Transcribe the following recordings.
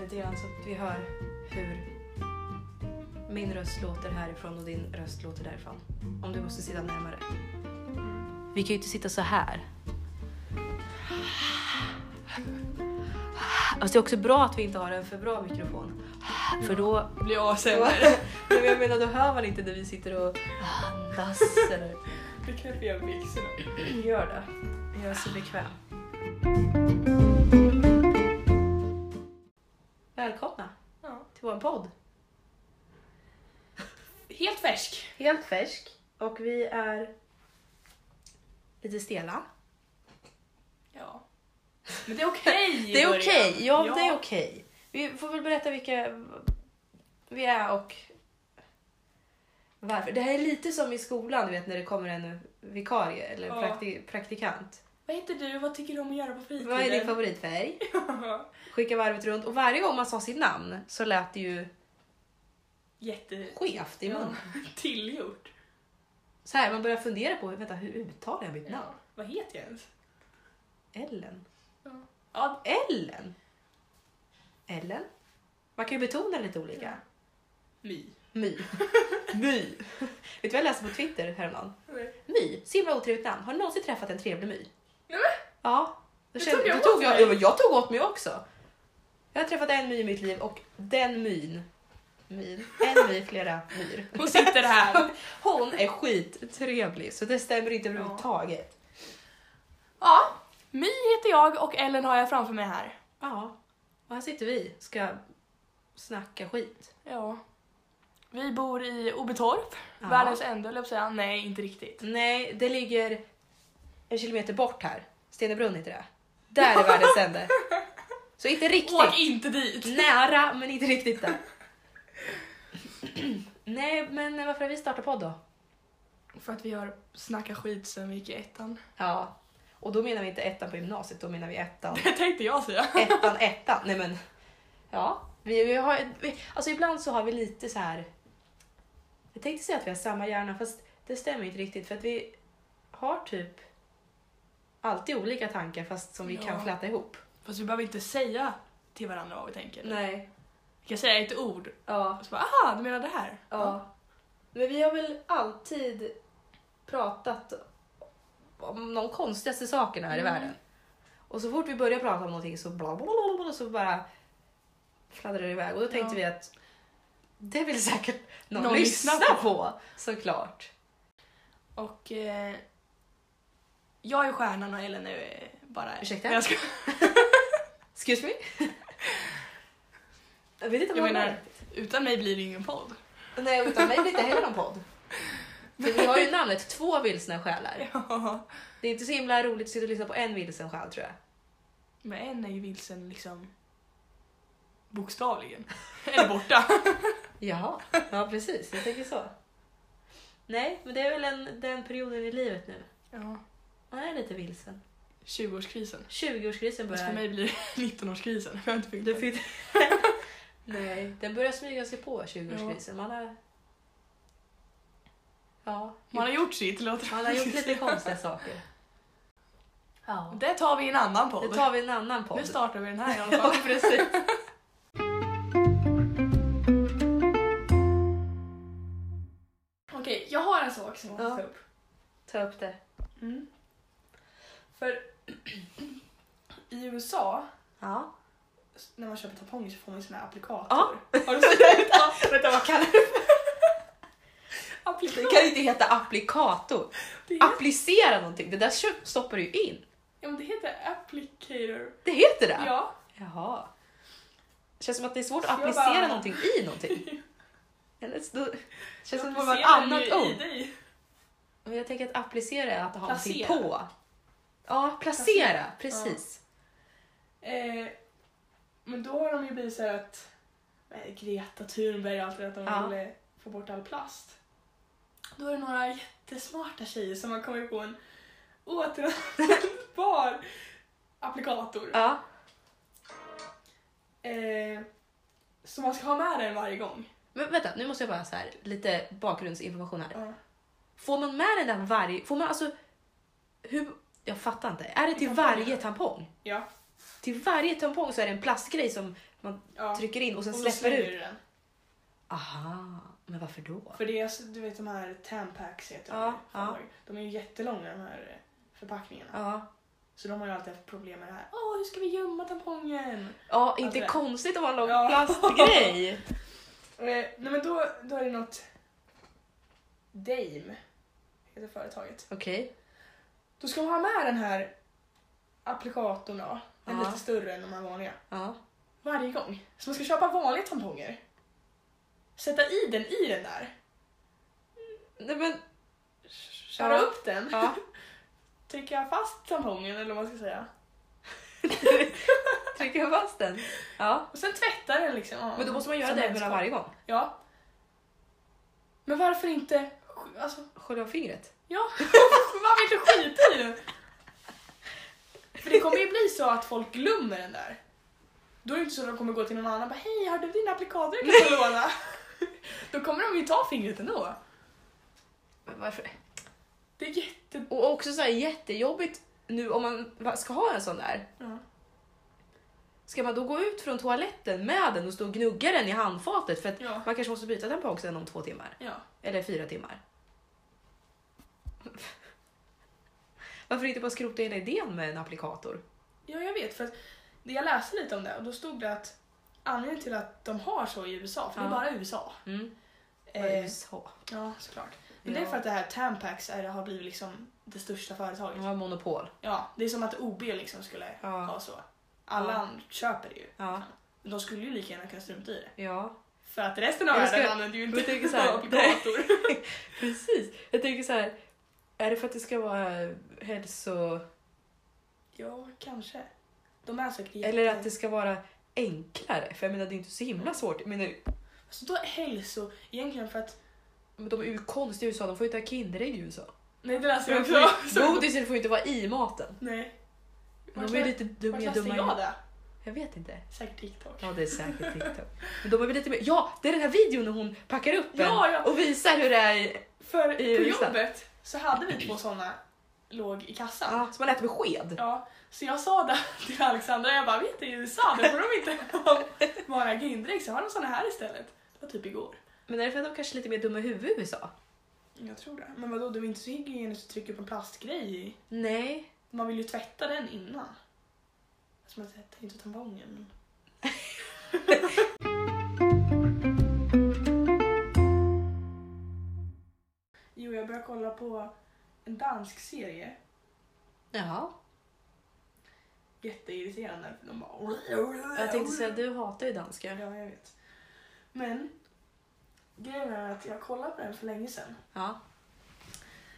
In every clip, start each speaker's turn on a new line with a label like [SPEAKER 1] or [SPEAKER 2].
[SPEAKER 1] lite grann så att vi hör hur min röst låter härifrån och din röst låter därifrån. Om du måste sitta närmare. Vi kan ju inte sitta så här. Alltså det är också bra att vi inte har en för bra mikrofon. För då...
[SPEAKER 2] Blir jag
[SPEAKER 1] då
[SPEAKER 2] sämre.
[SPEAKER 1] Nej, men jag menar, då hör man inte när vi sitter och andas eller...
[SPEAKER 2] Det knäpper jag blixten.
[SPEAKER 1] Gör det. Jag är så bekväm. Välkomna
[SPEAKER 2] Ja.
[SPEAKER 1] till vår podd.
[SPEAKER 2] Helt färsk.
[SPEAKER 1] Helt färsk. Och vi är lite stela.
[SPEAKER 2] Ja. Men det är okej. i
[SPEAKER 1] Det är
[SPEAKER 2] början.
[SPEAKER 1] okej. Ja, det är okej. Vi får väl berätta vilka vi är och varför. Det här är lite som i skolan, du vet när det kommer en vikarie eller
[SPEAKER 2] Ja.
[SPEAKER 1] prakti- praktikant.
[SPEAKER 2] Vad heter du? Vad tycker du om att göra på fritiden?
[SPEAKER 1] Vad är din favoritfärg? Skicka varvet runt och varje gång man sa sitt namn så lät det ju
[SPEAKER 2] Jätte...
[SPEAKER 1] skevt i munnen.
[SPEAKER 2] Tillgjort.
[SPEAKER 1] Så här, man börjar fundera på vänta, hur uttalar jag mitt namn?
[SPEAKER 2] Vad heter jag ens?
[SPEAKER 1] Ellen.
[SPEAKER 2] Ja.
[SPEAKER 1] Ellen? Ellen? Man kan ju betona lite olika.
[SPEAKER 2] My.
[SPEAKER 1] My. my. Vet du vad jag läste på Twitter häromdagen? My, så himla otrevligt namn. Har du någonsin träffat en trevlig my?
[SPEAKER 2] Nej,
[SPEAKER 1] Ja. Då
[SPEAKER 2] Det
[SPEAKER 1] kände,
[SPEAKER 2] tog
[SPEAKER 1] jag,
[SPEAKER 2] jag åt
[SPEAKER 1] tog jag,
[SPEAKER 2] mig.
[SPEAKER 1] ja, men jag tog åt mig också. Jag har träffat en my i mitt liv och den myn, myn en my flera myr.
[SPEAKER 2] Hon sitter här.
[SPEAKER 1] Hon är skittrevlig så det stämmer inte överhuvudtaget.
[SPEAKER 2] Ja. My heter jag och Ellen har jag framför mig här.
[SPEAKER 1] Ja, och här sitter vi ska snacka skit.
[SPEAKER 2] Ja. Vi bor i Obetorp.
[SPEAKER 1] Ja.
[SPEAKER 2] Världens ände höll jag på att säga. Nej, inte riktigt.
[SPEAKER 1] Nej, det ligger en kilometer bort här. Stenebrunn heter det. Där är världens ände. Så inte
[SPEAKER 2] Åk
[SPEAKER 1] riktigt.
[SPEAKER 2] inte dit!
[SPEAKER 1] Nära, men inte riktigt där. Nej, men varför har vi startat podd då?
[SPEAKER 2] För att vi har snackat skit sen vi gick i ettan.
[SPEAKER 1] Ja, och då menar vi inte ettan på gymnasiet, då menar vi ettan,
[SPEAKER 2] Det tänkte jag säga.
[SPEAKER 1] ettan, ettan. Nej men, ja. Vi, vi har, vi, alltså ibland så har vi lite så här. Jag tänkte säga att vi har samma hjärna, fast det stämmer inte riktigt för att vi har typ alltid olika tankar fast som vi
[SPEAKER 2] Ja.
[SPEAKER 1] kan fläta ihop.
[SPEAKER 2] Fast vi behöver inte säga till varandra vad vi tänker.
[SPEAKER 1] Nej.
[SPEAKER 2] Vi kan säga ett ord
[SPEAKER 1] Ja.
[SPEAKER 2] och så bara aha, du menar det här?
[SPEAKER 1] Ja. Men vi har väl alltid pratat om de konstigaste sakerna här i
[SPEAKER 2] Mm.
[SPEAKER 1] världen. Och så fort vi börjar prata om någonting så bla bla bla, bla så bara fladdrar det iväg. Och då tänkte
[SPEAKER 2] Ja.
[SPEAKER 1] vi att det vill säkert någon,
[SPEAKER 2] Någon
[SPEAKER 1] lyssna,
[SPEAKER 2] lyssnar
[SPEAKER 1] på. såklart.
[SPEAKER 2] Och eh, jag är stjärnan och Ellen är eh, bara...
[SPEAKER 1] Ursäkta?
[SPEAKER 2] Nej, Jag, ska...
[SPEAKER 1] Excuse me? jag vet inte
[SPEAKER 2] jag
[SPEAKER 1] vad det
[SPEAKER 2] menar,
[SPEAKER 1] är.
[SPEAKER 2] utan mig blir det ingen podd.
[SPEAKER 1] Nej, utan mig blir det inte heller någon podd. För vi har ju namnet Två vilsna själar.
[SPEAKER 2] Ja.
[SPEAKER 1] Det är inte så himla roligt att sitta och lyssna på en vilsen själ tror jag.
[SPEAKER 2] Men en är ju vilsen liksom bokstavligen. Eller borta.
[SPEAKER 1] Jaha, ja precis. Jag tänker så. Nej, men det är väl en, den perioden i livet nu.
[SPEAKER 2] Ja.
[SPEAKER 1] Man är lite vilsen.
[SPEAKER 2] 20-årskrisen.
[SPEAKER 1] 20-årskrisen
[SPEAKER 2] Fast för
[SPEAKER 1] börjar...
[SPEAKER 2] mig blir det 19-årskrisen. Jag har inte fyllt
[SPEAKER 1] Du
[SPEAKER 2] den.
[SPEAKER 1] fick... Nej, den börjar smyga sig på 20-årskrisen. Man har... Ja,
[SPEAKER 2] Man har gjort sitt låter
[SPEAKER 1] man har gjort lite konstiga saker. Ja.
[SPEAKER 2] Det tar vi i en annan podd.
[SPEAKER 1] Det tar vi en annan podd.
[SPEAKER 2] Nu startar vi den här i alla fall.
[SPEAKER 1] Ja, precis.
[SPEAKER 2] Okej, jag har en sak som jag måste
[SPEAKER 1] Ja.
[SPEAKER 2] ta upp.
[SPEAKER 1] Ta upp det.
[SPEAKER 2] Mm. För i USA,
[SPEAKER 1] Ja.
[SPEAKER 2] s- när man köper tamponger så får man ju såna här applikator.
[SPEAKER 1] Ja.
[SPEAKER 2] Har du sett det?
[SPEAKER 1] Vänta, vad kan det? Det
[SPEAKER 2] Applikator.
[SPEAKER 1] kan ju inte heta applicator.
[SPEAKER 2] Det heter,
[SPEAKER 1] Applicera någonting. Det där kö- stoppar du ju in.
[SPEAKER 2] ja, men det heter applicator.
[SPEAKER 1] Det heter det.
[SPEAKER 2] Ja.
[SPEAKER 1] Jaha. Det känns som att det är svårt att
[SPEAKER 2] Jag
[SPEAKER 1] applicera
[SPEAKER 2] bara-
[SPEAKER 1] någonting i någonting. Eller så... Det känns som att det var ett
[SPEAKER 2] applicerar den
[SPEAKER 1] annat
[SPEAKER 2] ju i
[SPEAKER 1] ord.
[SPEAKER 2] dig.
[SPEAKER 1] Men jag tänker att applicera är att ha någonting
[SPEAKER 2] Placera.
[SPEAKER 1] på. Ja, placera.
[SPEAKER 2] Placera.
[SPEAKER 1] Precis.
[SPEAKER 2] Eh, men då har de ju blivit så här att eh, Greta Thunberg och allt det där, att de
[SPEAKER 1] Ja.
[SPEAKER 2] ville få bort all plast. Då är det några jättesmarta tjejer som har kommit på en återanvändbar applikator.
[SPEAKER 1] Ja.
[SPEAKER 2] Eh, så man ska ha med den varje gång.
[SPEAKER 1] Men vänta, nu måste jag bara så här lite bakgrundsinformation här. Får man med den där varje... Får man alltså... Hur... Jag fattar inte. Är det till
[SPEAKER 2] Tamponger.
[SPEAKER 1] varje tampong?
[SPEAKER 2] Ja.
[SPEAKER 1] Till varje tampong så är det en plastgrej som
[SPEAKER 2] Ja.
[SPEAKER 1] trycker in och sen
[SPEAKER 2] och så
[SPEAKER 1] släpper
[SPEAKER 2] slänger
[SPEAKER 1] ut.
[SPEAKER 2] du den.
[SPEAKER 1] Aha, men varför då?
[SPEAKER 2] För det är, så- du vet de här Tampax heter de
[SPEAKER 1] Ja,
[SPEAKER 2] ju,
[SPEAKER 1] ja.
[SPEAKER 2] förlag. De är ju jättelånga de här eh, förpackningarna.
[SPEAKER 1] Ja,
[SPEAKER 2] Så de har ju alltid haft problem med det här. Åh, hur ska vi gömma tampongen?
[SPEAKER 1] ja inte
[SPEAKER 2] Alltså det-
[SPEAKER 1] konstigt om man lång
[SPEAKER 2] Ja.
[SPEAKER 1] plastgrej.
[SPEAKER 2] Eh, nej men då, då är det något... Dame heter företaget.
[SPEAKER 1] Okej.
[SPEAKER 2] Då ska man ha med den här applikatorn då. Den är
[SPEAKER 1] Ja.
[SPEAKER 2] lite större än de här vanliga.
[SPEAKER 1] Ja.
[SPEAKER 2] Varje gång. Så man ska köpa vanliga tamponger. Sätta i den i den där.
[SPEAKER 1] Nej men,
[SPEAKER 2] Köra
[SPEAKER 1] Ja.
[SPEAKER 2] upp den.
[SPEAKER 1] ja.
[SPEAKER 2] Trycka fast tampongen eller vad man ska säga.
[SPEAKER 1] Trycker jag fast den? Ja.
[SPEAKER 2] Och sen tvätta den liksom. Ja,
[SPEAKER 1] Men då måste man göra
[SPEAKER 2] som
[SPEAKER 1] det
[SPEAKER 2] redskap.
[SPEAKER 1] mellan varje gång.
[SPEAKER 2] Ja. Men varför inte... sk- Alltså,
[SPEAKER 1] Skölja av fingret.
[SPEAKER 2] Ja, man vill inte skita i den. För det kommer ju bli så att folk glömmer den där. Då är det inte så att de kommer gå till någon annan och bara hej, har du din applikator jag kan få låna? Då kommer de ju ta fingret ändå.
[SPEAKER 1] Men varför?
[SPEAKER 2] Det är jätte...
[SPEAKER 1] Och också så här jättejobbigt nu om man va- ska ha en sån där.
[SPEAKER 2] Ja.
[SPEAKER 1] Ska man då gå ut från toaletten med den och stå och gnugga den i handfatet för att
[SPEAKER 2] Ja.
[SPEAKER 1] man kanske måste byta tampong sen om två timmar?
[SPEAKER 2] ja.
[SPEAKER 1] Eller fyra timmar? Varför inte bara skrota hela idén med en applikator?
[SPEAKER 2] Ja, jag vet. För att det- jag läste lite om det och då stod det att anledningen till att de har så i USA, för det är
[SPEAKER 1] Ja.
[SPEAKER 2] bara USA.
[SPEAKER 1] Mm. Vad
[SPEAKER 2] Eh,
[SPEAKER 1] USA.
[SPEAKER 2] ja, såklart. Men det
[SPEAKER 1] Ja.
[SPEAKER 2] är för att det här Tampax är, har blivit liksom det största företaget.
[SPEAKER 1] De har monopol.
[SPEAKER 2] Ja, det är som att OB liksom skulle
[SPEAKER 1] Ja.
[SPEAKER 2] ha så. Alla
[SPEAKER 1] Ja.
[SPEAKER 2] andra köper det ju.
[SPEAKER 1] Ja.
[SPEAKER 2] Men De skulle ju lika gärna kunna strunta i det.
[SPEAKER 1] Ja.
[SPEAKER 2] För att resten av
[SPEAKER 1] Jag ska-
[SPEAKER 2] världen använder ju inte
[SPEAKER 1] jag tänker så här,
[SPEAKER 2] applikator.
[SPEAKER 1] Precis. Jag tänker så här. Är det för att det ska vara hälso...
[SPEAKER 2] Ja, kanske. De är säkert jätte...
[SPEAKER 1] Eller att det ska vara enklare? För jag menar det är inte så himla svårt. Jag menar,
[SPEAKER 2] Alltså då är hälso egentligen för att...
[SPEAKER 1] Men de är ju konstiga i USA, de får ju inte ha Kinderägg i USA.
[SPEAKER 2] Nej, det läste jag
[SPEAKER 1] De får ju-
[SPEAKER 2] också. Så-
[SPEAKER 1] Godiset får ju inte vara i maten.
[SPEAKER 2] Nej. Vart
[SPEAKER 1] De är
[SPEAKER 2] lä-
[SPEAKER 1] lite dumma,
[SPEAKER 2] Vart läste
[SPEAKER 1] dumma.
[SPEAKER 2] jag
[SPEAKER 1] Jag,
[SPEAKER 2] det?
[SPEAKER 1] jag vet inte.
[SPEAKER 2] Säkert TikTok.
[SPEAKER 1] Ja, det är säkert TikTok. Men de är väl lite mer... Ja, det är den här videon när hon packar upp
[SPEAKER 2] Ja,
[SPEAKER 1] en
[SPEAKER 2] ja.
[SPEAKER 1] och visar hur det är. i-
[SPEAKER 2] För
[SPEAKER 1] I
[SPEAKER 2] på
[SPEAKER 1] USA.
[SPEAKER 2] jobbet så hade vi två sådana låg i kassan.
[SPEAKER 1] Ja, som man äter med sked.
[SPEAKER 2] Ja, så jag sa det till Alexandra, jag bara, vet du, i USA där får de inte ha bara Kinderägg, så har de såna här istället. Det var typ igår.
[SPEAKER 1] Men är det för att de kanske är lite mer dumma i huvudet i USA?
[SPEAKER 2] Jag tror det. Men vadå, du är inte så hygienisk att trycka upp en plastgrej i.
[SPEAKER 1] Nej.
[SPEAKER 2] Man vill ju tvätta den innan. Som att jag tänkte tampongen. men- jo, jag började kolla på en dansk serie.
[SPEAKER 1] Jaha.
[SPEAKER 2] Jätteirriterande. för De bara...
[SPEAKER 1] Jag tänkte säga, du hatar ju danska.
[SPEAKER 2] Ja, jag vet. Men grejen är att jag kollade på den för länge sedan.
[SPEAKER 1] Ja.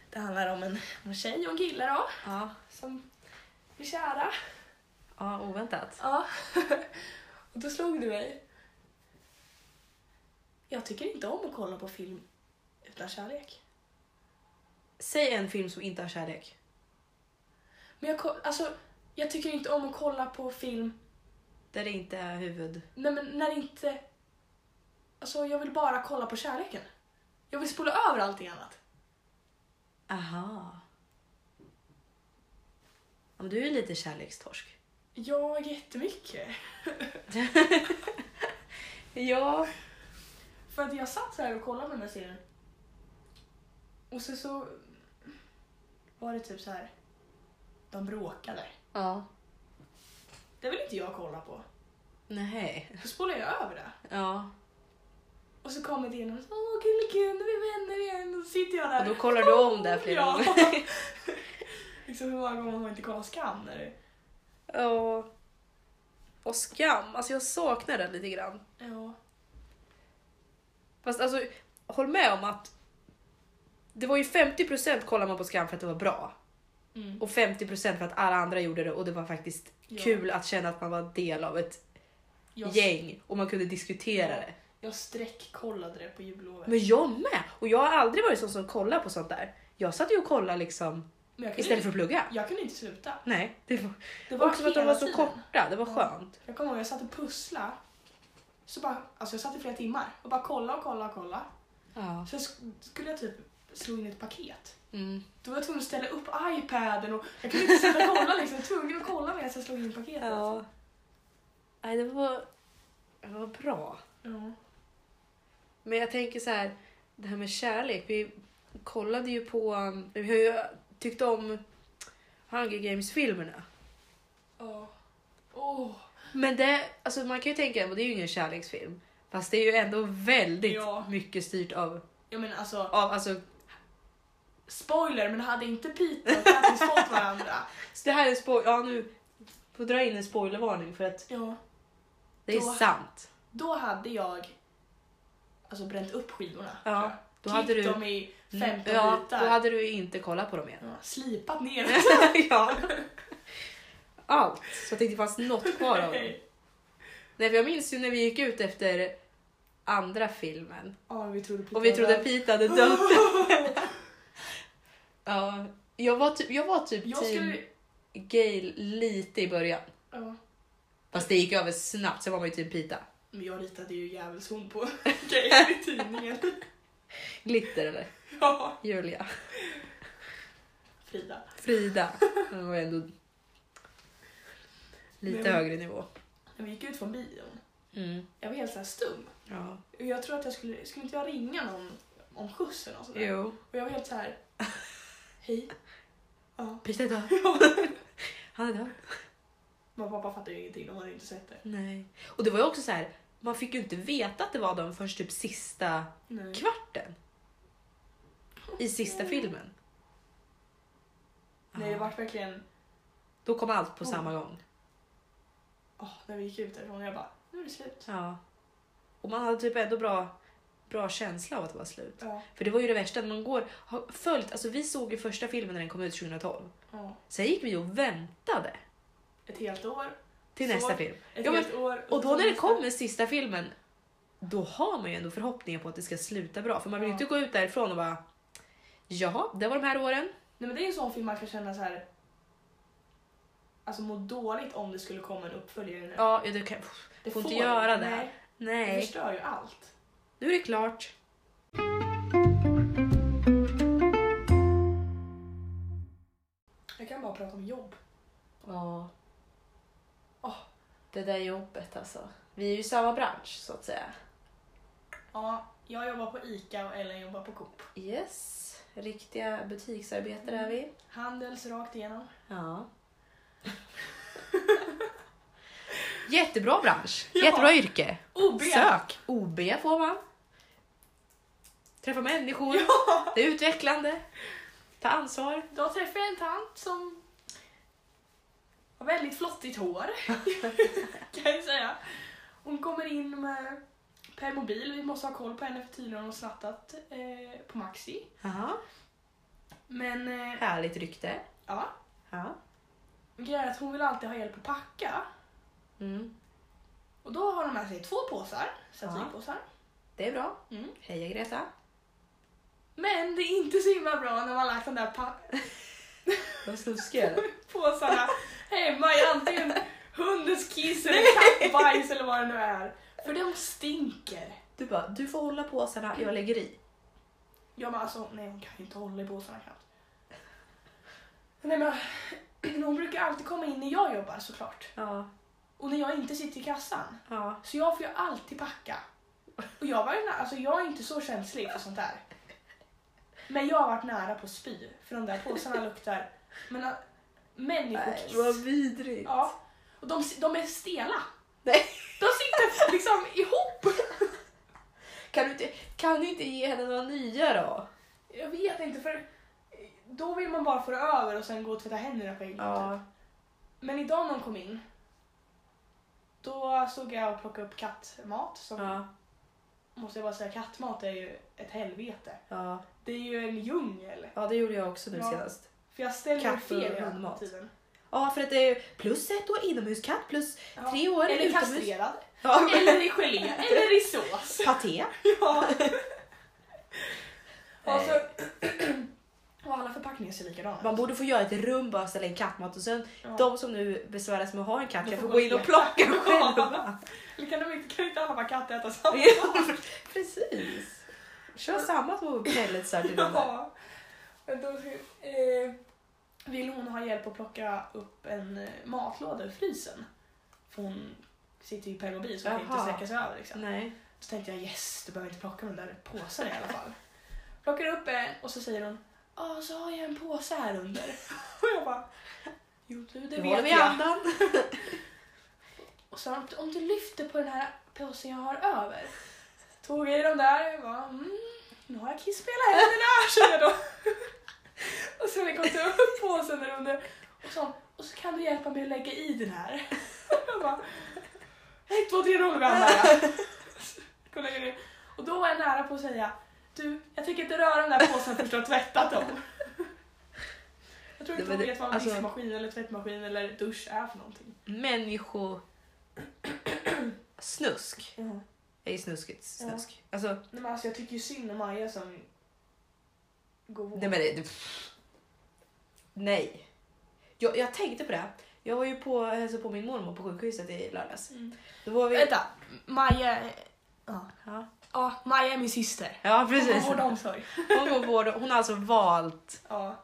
[SPEAKER 2] Det handlar om en, om en tjej och en kille då,
[SPEAKER 1] Ja.
[SPEAKER 2] som blir kära.
[SPEAKER 1] Ja, oväntat.
[SPEAKER 2] Ja. och då slog det mig. Jag tycker inte om att kolla på film utan kärlek.
[SPEAKER 1] Säg en film som inte har kärlek.
[SPEAKER 2] Men jag, ko- alltså, jag tycker inte om att kolla på film
[SPEAKER 1] Där det inte är huvud...
[SPEAKER 2] nej, men när det inte... Alltså, jag vill bara kolla på kärleken. Jag vill spola över allting annat.
[SPEAKER 1] Aha. Ja, men du är ju lite kärlekstorsk.
[SPEAKER 2] Ja, jättemycket.
[SPEAKER 1] Ja.
[SPEAKER 2] För att jag satt så här och kollade på den här serien. Och sen så var det typ så här. De bråkade.
[SPEAKER 1] Ja.
[SPEAKER 2] Det vill inte jag kolla på.
[SPEAKER 1] Nej.
[SPEAKER 2] Så spolade jag över det.
[SPEAKER 1] Ja.
[SPEAKER 2] Och så kommer det in och så åh gullegun, nu är vi vänner igen. Och så sitter jag där.
[SPEAKER 1] Och då kollar du om det här flera
[SPEAKER 2] ja.
[SPEAKER 1] gånger.
[SPEAKER 2] liksom hur många gånger har man inte kollat Skam? Eller?
[SPEAKER 1] Ja. Och skam. Alltså jag saknar det lite grann.
[SPEAKER 2] Ja.
[SPEAKER 1] Fast alltså, håll med om att det var ju 50% kollar man på skam för att det var bra.
[SPEAKER 2] Mm.
[SPEAKER 1] Och 50% för att alla andra gjorde det och det var faktiskt
[SPEAKER 2] Ja.
[SPEAKER 1] kul att känna att man var del av ett
[SPEAKER 2] Jag,
[SPEAKER 1] gäng och man kunde diskutera
[SPEAKER 2] Ja.
[SPEAKER 1] det.
[SPEAKER 2] jag sträckkollade det på jullovet.
[SPEAKER 1] Men jag med! Och jag har aldrig varit sån som kollar på sånt där. Jag satt ju och kollade liksom
[SPEAKER 2] Men jag, kunde
[SPEAKER 1] istället
[SPEAKER 2] inte,
[SPEAKER 1] för att plugga.
[SPEAKER 2] jag kunde inte sluta.
[SPEAKER 1] Nej, det var,
[SPEAKER 2] Det
[SPEAKER 1] också för att de
[SPEAKER 2] hela
[SPEAKER 1] var så
[SPEAKER 2] tiden.
[SPEAKER 1] korta. Det var
[SPEAKER 2] Ja.
[SPEAKER 1] skönt.
[SPEAKER 2] Jag kommer ihåg jag satt och pussla. Så bara, alltså jag satt i flera timmar och bara kolla och kolla och kolla.
[SPEAKER 1] Ja.
[SPEAKER 2] Sen sk- skulle jag typ slå in ett paket.
[SPEAKER 1] Mm.
[SPEAKER 2] Då var jag tvungen att ställa upp iPaden och jag kunde inte sitta och kolla liksom. Jag var tvungen att kolla medan jag slog in paketet.
[SPEAKER 1] ja. Nej, det var Ja, Vad bra.
[SPEAKER 2] Ja.
[SPEAKER 1] Men jag tänker så här, det här med kärlek. Vi kollade ju på, um, vi har ju tyckt om Hunger Games-filmerna.
[SPEAKER 2] Ja. Åh.
[SPEAKER 1] Men det, alltså man kan ju tänka att det är ju ingen kärleksfilm. Fast det är ju ändå väldigt
[SPEAKER 2] Ja.
[SPEAKER 1] mycket styrt av,
[SPEAKER 2] Ja men alltså,
[SPEAKER 1] av alltså,
[SPEAKER 2] spoiler, men hade inte Peter och Kattis fått varandra?
[SPEAKER 1] så det här är en spoil, ja nu får dra in en spoilervarning för att
[SPEAKER 2] Ja.
[SPEAKER 1] det är
[SPEAKER 2] Då-
[SPEAKER 1] sant.
[SPEAKER 2] Då hade jag alltså bränt upp skivorna.
[SPEAKER 1] Ja,
[SPEAKER 2] tror jag.
[SPEAKER 1] då hade
[SPEAKER 2] Klippt
[SPEAKER 1] du- Mm.
[SPEAKER 2] dem i 15
[SPEAKER 1] ja, då
[SPEAKER 2] Typ bitar.
[SPEAKER 1] hade du ju inte kollat på dem igen.
[SPEAKER 2] ja, slipat ner
[SPEAKER 1] ja. Allt, så jag tänkte fast något kvar av dem. Nej, för jag minns ju när vi gick ut efter andra filmen
[SPEAKER 2] Ja, vi trodde Peter
[SPEAKER 1] och vi trodde
[SPEAKER 2] var
[SPEAKER 1] att Pete hade dött. ja, jag var typ, jag var typ
[SPEAKER 2] Jag
[SPEAKER 1] team
[SPEAKER 2] skulle...
[SPEAKER 1] Gail lite i början.
[SPEAKER 2] Ja.
[SPEAKER 1] Fast det gick över snabbt, sen var man ju typ Pita.
[SPEAKER 2] Men jag ritade ju djävulshund på grejer i tidningen.
[SPEAKER 1] Glitter eller
[SPEAKER 2] Ja,
[SPEAKER 1] Julia.
[SPEAKER 2] Frida.
[SPEAKER 1] Frida. Hon var ändå lite
[SPEAKER 2] Men-
[SPEAKER 1] högre nivå.
[SPEAKER 2] När vi gick ut från bion,
[SPEAKER 1] Mm.
[SPEAKER 2] jag var helt så här stum.
[SPEAKER 1] Ja.
[SPEAKER 2] Jag tror att jag skulle, skulle inte jag ringa någon om skjuts eller något sånt där?
[SPEAKER 1] Jo.
[SPEAKER 2] Och jag var helt så här. hej. Ja.
[SPEAKER 1] Pita är död. Han är död.
[SPEAKER 2] Men pappa fattar ju ingenting, de hade inte sett det.
[SPEAKER 1] Nej. Och det var ju också så här, man fick ju inte veta att det var dem först typ sista
[SPEAKER 2] Nej.
[SPEAKER 1] kvarten. I sista filmen.
[SPEAKER 2] Nej, det
[SPEAKER 1] Ja.
[SPEAKER 2] var verkligen,
[SPEAKER 1] Då kom allt på samma gång.
[SPEAKER 2] åh, när vi gick ut därifrån, jag bara, nu är det slut.
[SPEAKER 1] Ja. Och man hade typ ändå bra, bra känsla av att det var slut.
[SPEAKER 2] Ja,
[SPEAKER 1] För det var ju det värsta, man går, har följt, alltså vi såg ju första filmen när den kom ut 2012.
[SPEAKER 2] ja.
[SPEAKER 1] Sen gick vi och väntade
[SPEAKER 2] Ett helt år,
[SPEAKER 1] till
[SPEAKER 2] Så-
[SPEAKER 1] nästa film.
[SPEAKER 2] ett
[SPEAKER 1] Ja, men-
[SPEAKER 2] helt år.
[SPEAKER 1] Och då när det
[SPEAKER 2] nästa-
[SPEAKER 1] kom den sista filmen, då har man ju ändå förhoppningar på att det ska sluta bra. För man vill ju
[SPEAKER 2] Ja.
[SPEAKER 1] inte gå ut därifrån och bara, jaha, det var de här åren.
[SPEAKER 2] Nej men det är ju en sån film man kan känna så här. Alltså må dåligt om det skulle komma en uppföljare nu.
[SPEAKER 1] Ja, ja, du kan,
[SPEAKER 2] det
[SPEAKER 1] får inte göra det.
[SPEAKER 2] Nej, det
[SPEAKER 1] nej,
[SPEAKER 2] förstör ju allt.
[SPEAKER 1] nu är det klart.
[SPEAKER 2] Jag kan bara prata om jobb.
[SPEAKER 1] Ja.
[SPEAKER 2] Åh.
[SPEAKER 1] Det där jobbet alltså. Vi är ju i samma bransch så att säga.
[SPEAKER 2] Ja, jag jobbar på ICA och Ellen jobbar på Coop.
[SPEAKER 1] Yes, Mm. riktiga butiksarbetare är vi.
[SPEAKER 2] Handels rakt igenom.
[SPEAKER 1] Ja. Jättebra bransch,
[SPEAKER 2] Ja.
[SPEAKER 1] jättebra yrke.
[SPEAKER 2] OB!
[SPEAKER 1] Sök! OB får man. Träffa människor,
[SPEAKER 2] Ja!
[SPEAKER 1] det är utvecklande. Ta ansvar.
[SPEAKER 2] Då träffade jag en tant som har väldigt flottigt hår. kan jag säga. Hon kommer in med permobil. Vi måste ha koll på henne för tydligen har hon snattat eh, på Maxi.
[SPEAKER 1] Aha.
[SPEAKER 2] Men eh,
[SPEAKER 1] Härligt rykte.
[SPEAKER 2] ja,
[SPEAKER 1] Ja.
[SPEAKER 2] grejen är att hon vill alltid ha hjälp att packa.
[SPEAKER 1] Mm.
[SPEAKER 2] Och då har de med sig två påsar, satirpåsar.
[SPEAKER 1] Det är bra.
[SPEAKER 2] Mm.
[SPEAKER 1] Heja Greta.
[SPEAKER 2] Men det är inte så himla bra när man har lagt de där pa-
[SPEAKER 1] Vad snuskig
[SPEAKER 2] påsarna hemma i antingen hundens kiss eller kattbajs eller vad det nu är. För de stinker.
[SPEAKER 1] Du bara, du får hålla påsarna, jag lägger i.
[SPEAKER 2] Ja men alltså, nej hon kan ju inte hålla i påsarna knappt. Nej men hon brukar alltid komma in när jag jobbar såklart.
[SPEAKER 1] Ja.
[SPEAKER 2] Och när jag inte sitter i kassan.
[SPEAKER 1] Ja.
[SPEAKER 2] Så jag får ju alltid packa. Och jag, var ju nä- alltså, jag är inte så känslig för sånt där. Men jag har varit nära på att spy. För de där påsarna luktar men, äh, människokiss.
[SPEAKER 1] vidrigt.
[SPEAKER 2] Ja. Och de, de är stela.
[SPEAKER 1] Nej.
[SPEAKER 2] De sitter liksom ihop.
[SPEAKER 1] Kan, du inte, kan du inte ge henne några nya då?
[SPEAKER 2] Jag vet inte för då vill man bara få det över och sen gå och tvätta händerna på en gång. typ. Men idag när hon kom in då stod jag och plockade upp kattmat. Som,
[SPEAKER 1] Ja.
[SPEAKER 2] Måste jag bara säga, kattmat är ju ett helvete.
[SPEAKER 1] Ja.
[SPEAKER 2] Det är ju en djungel.
[SPEAKER 1] ja, det gjorde jag också nu
[SPEAKER 2] Ja.
[SPEAKER 1] senast.
[SPEAKER 2] För jag ställer
[SPEAKER 1] Katt och
[SPEAKER 2] fel hela
[SPEAKER 1] hundmat.
[SPEAKER 2] tiden.
[SPEAKER 1] Ja, för att det är plus ett år inomhuskatt plus
[SPEAKER 2] Ja.
[SPEAKER 1] tre år
[SPEAKER 2] Eller
[SPEAKER 1] utomhus.
[SPEAKER 2] kastrerad.
[SPEAKER 1] Ja.
[SPEAKER 2] Eller i gelé. Eller i sås.
[SPEAKER 1] Paté.
[SPEAKER 2] Ja. Och, så,
[SPEAKER 1] Nej.
[SPEAKER 2] och alla förpackningar ser likadana
[SPEAKER 1] Man borde få göra ett rum bara och ställa in kattmat och sen
[SPEAKER 2] Ja.
[SPEAKER 1] de som nu besväras med att ha en katt
[SPEAKER 2] De
[SPEAKER 1] kan
[SPEAKER 2] får
[SPEAKER 1] få gå
[SPEAKER 2] gå
[SPEAKER 1] in och
[SPEAKER 2] och
[SPEAKER 1] plocka
[SPEAKER 2] Ja.
[SPEAKER 1] själva.
[SPEAKER 2] Eller kan, de inte, kan inte alla bara kattäta samma?
[SPEAKER 1] Precis. Kör samma två pelletsar till den där.
[SPEAKER 2] Ja. Men Då, eh, vill hon ha hjälp att plocka upp en eh, matlåda ur frysen. För hon sitter ju i Pelle och bil så kan
[SPEAKER 1] Jaha.
[SPEAKER 2] inte sträcka sig över. Liksom.
[SPEAKER 1] Nej.
[SPEAKER 2] Så tänkte jag yes, du behöver inte plocka de där påsarna i alla fall. Plockar upp en och så säger hon Ja, så har jag en påse här under. Och jag bara Jo du, det
[SPEAKER 1] Håll
[SPEAKER 2] vet
[SPEAKER 1] i
[SPEAKER 2] jag.
[SPEAKER 1] andan.
[SPEAKER 2] Och så om, om du lyfter på den här påsen jag har över. Tog i dem där och bara mm, nu har jag kiss på hela händerna kände jag då. Och sen när jag kom till upp påsen där under och så, och så kan du hjälpa mig att lägga i den här. Jag bara ett, två, tre, noll gamla jag. lägga ner. Och då var jag nära på att säga du, jag tänker inte röra den där påsen förrän du har tvättat dem. Jag tror inte
[SPEAKER 1] Nej, men
[SPEAKER 2] hon vet vad en
[SPEAKER 1] alltså-
[SPEAKER 2] diskmaskin eller tvättmaskin eller dusch är för någonting.
[SPEAKER 1] Människo... Snusk. är ju snuskigt snusk. Alltså,
[SPEAKER 2] Nej, men alltså, jag tycker ju synd om Maja som går vård.
[SPEAKER 1] nej men det... det- Nej. Jag, jag tänkte på det. Jag var ju på hälsade på min mormor på sjukhuset i lördags.
[SPEAKER 2] Mm.
[SPEAKER 1] Då var vi...
[SPEAKER 2] Vänta, Maja... Ja.
[SPEAKER 1] Ja,
[SPEAKER 2] ja, Maja är min syster.
[SPEAKER 1] ja
[SPEAKER 2] Hon
[SPEAKER 1] precis.
[SPEAKER 2] får vård och omsorg.
[SPEAKER 1] Hon går på vård. Hon har alltså valt,
[SPEAKER 2] Ja.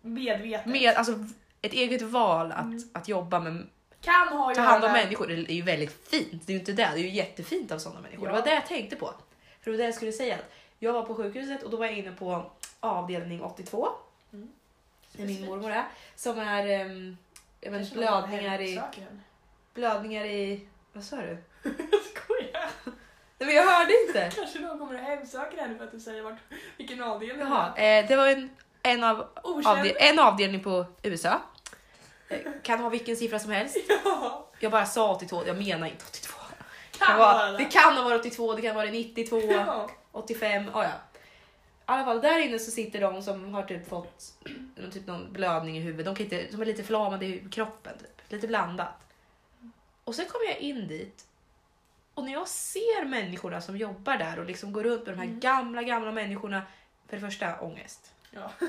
[SPEAKER 2] Medvetet.
[SPEAKER 1] med, alltså ett eget val att,
[SPEAKER 2] Mm.
[SPEAKER 1] att jobba med,
[SPEAKER 2] Kan ha att
[SPEAKER 1] ta
[SPEAKER 2] göra
[SPEAKER 1] hand om
[SPEAKER 2] med-
[SPEAKER 1] människor. Det är ju väldigt fint. Det är ju inte det. Det är ju jättefint av sådana människor. Det
[SPEAKER 2] Ja.
[SPEAKER 1] var det jag tänkte på. För det var det jag skulle säga. att Jag var på sjukhuset och då var jag inne på avdelning 82.
[SPEAKER 2] Mm.
[SPEAKER 1] Där min mormor är. Som är ehm, jag vet,
[SPEAKER 2] Kanske
[SPEAKER 1] inte,
[SPEAKER 2] någon har
[SPEAKER 1] blödningar i...
[SPEAKER 2] hemsöker henne.
[SPEAKER 1] Blödningar i... Vad sa du?
[SPEAKER 2] Jag skojar.
[SPEAKER 1] Nej men jag hörde inte.
[SPEAKER 2] Kanske någon kommer och hemsöker henne för att du säger vart, vilken avdelning det
[SPEAKER 1] Jaha,
[SPEAKER 2] är.
[SPEAKER 1] eh, det var en, en, av,
[SPEAKER 2] Okänd.
[SPEAKER 1] avdel, en avdelning på USA. Eh, Kan ha vilken siffra som helst.
[SPEAKER 2] Ja,
[SPEAKER 1] Jag bara sa 82, jag menar inte 82.
[SPEAKER 2] kan,
[SPEAKER 1] Det kan,
[SPEAKER 2] vara
[SPEAKER 1] vara,
[SPEAKER 2] det.
[SPEAKER 1] det kan ha varit 82, det kan vara 92,
[SPEAKER 2] Ja.
[SPEAKER 1] 85, ah, ja. I alla fall där inne så sitter de som har typ fått någon typ någon blödning i huvudet. De, kan inte, de är lite förlamade i kroppen, typ. lite blandat. Och sen kommer jag in dit och när jag ser människorna som jobbar där och liksom går runt med de här
[SPEAKER 2] Mm.
[SPEAKER 1] gamla, gamla människorna. För det första, ångest.
[SPEAKER 2] Ja.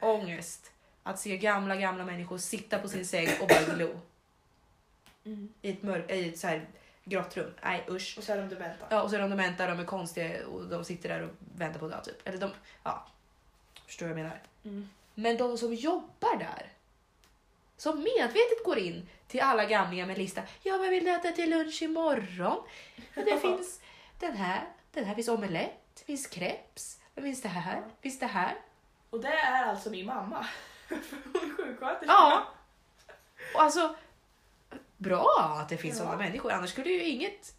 [SPEAKER 1] Ångest. Att se gamla, gamla människor sitta på sin säng och bara glo
[SPEAKER 2] Mm.
[SPEAKER 1] i ett, mör- i ett så här grått rum. Nej usch.
[SPEAKER 2] Och så är de dementa.
[SPEAKER 1] Ja, och så är de dementa, de är konstiga och de sitter där och väntar på att dö typ. Eller de, ja. Förstår vad jag menar?
[SPEAKER 2] Mm.
[SPEAKER 1] Men de som jobbar där. Som medvetet går in till alla gamlingar med en lista. Ja, vad vill du äta till lunch imorgon? Ja, det finns den här, den här finns omelett, det finns crepes, det finns det här, det finns det här.
[SPEAKER 2] Och det är alltså min mamma. För Hon är sjuksköterska.
[SPEAKER 1] Ja. Och alltså, bra att det finns
[SPEAKER 2] Ja.
[SPEAKER 1] sådana människor. Annars skulle ju inget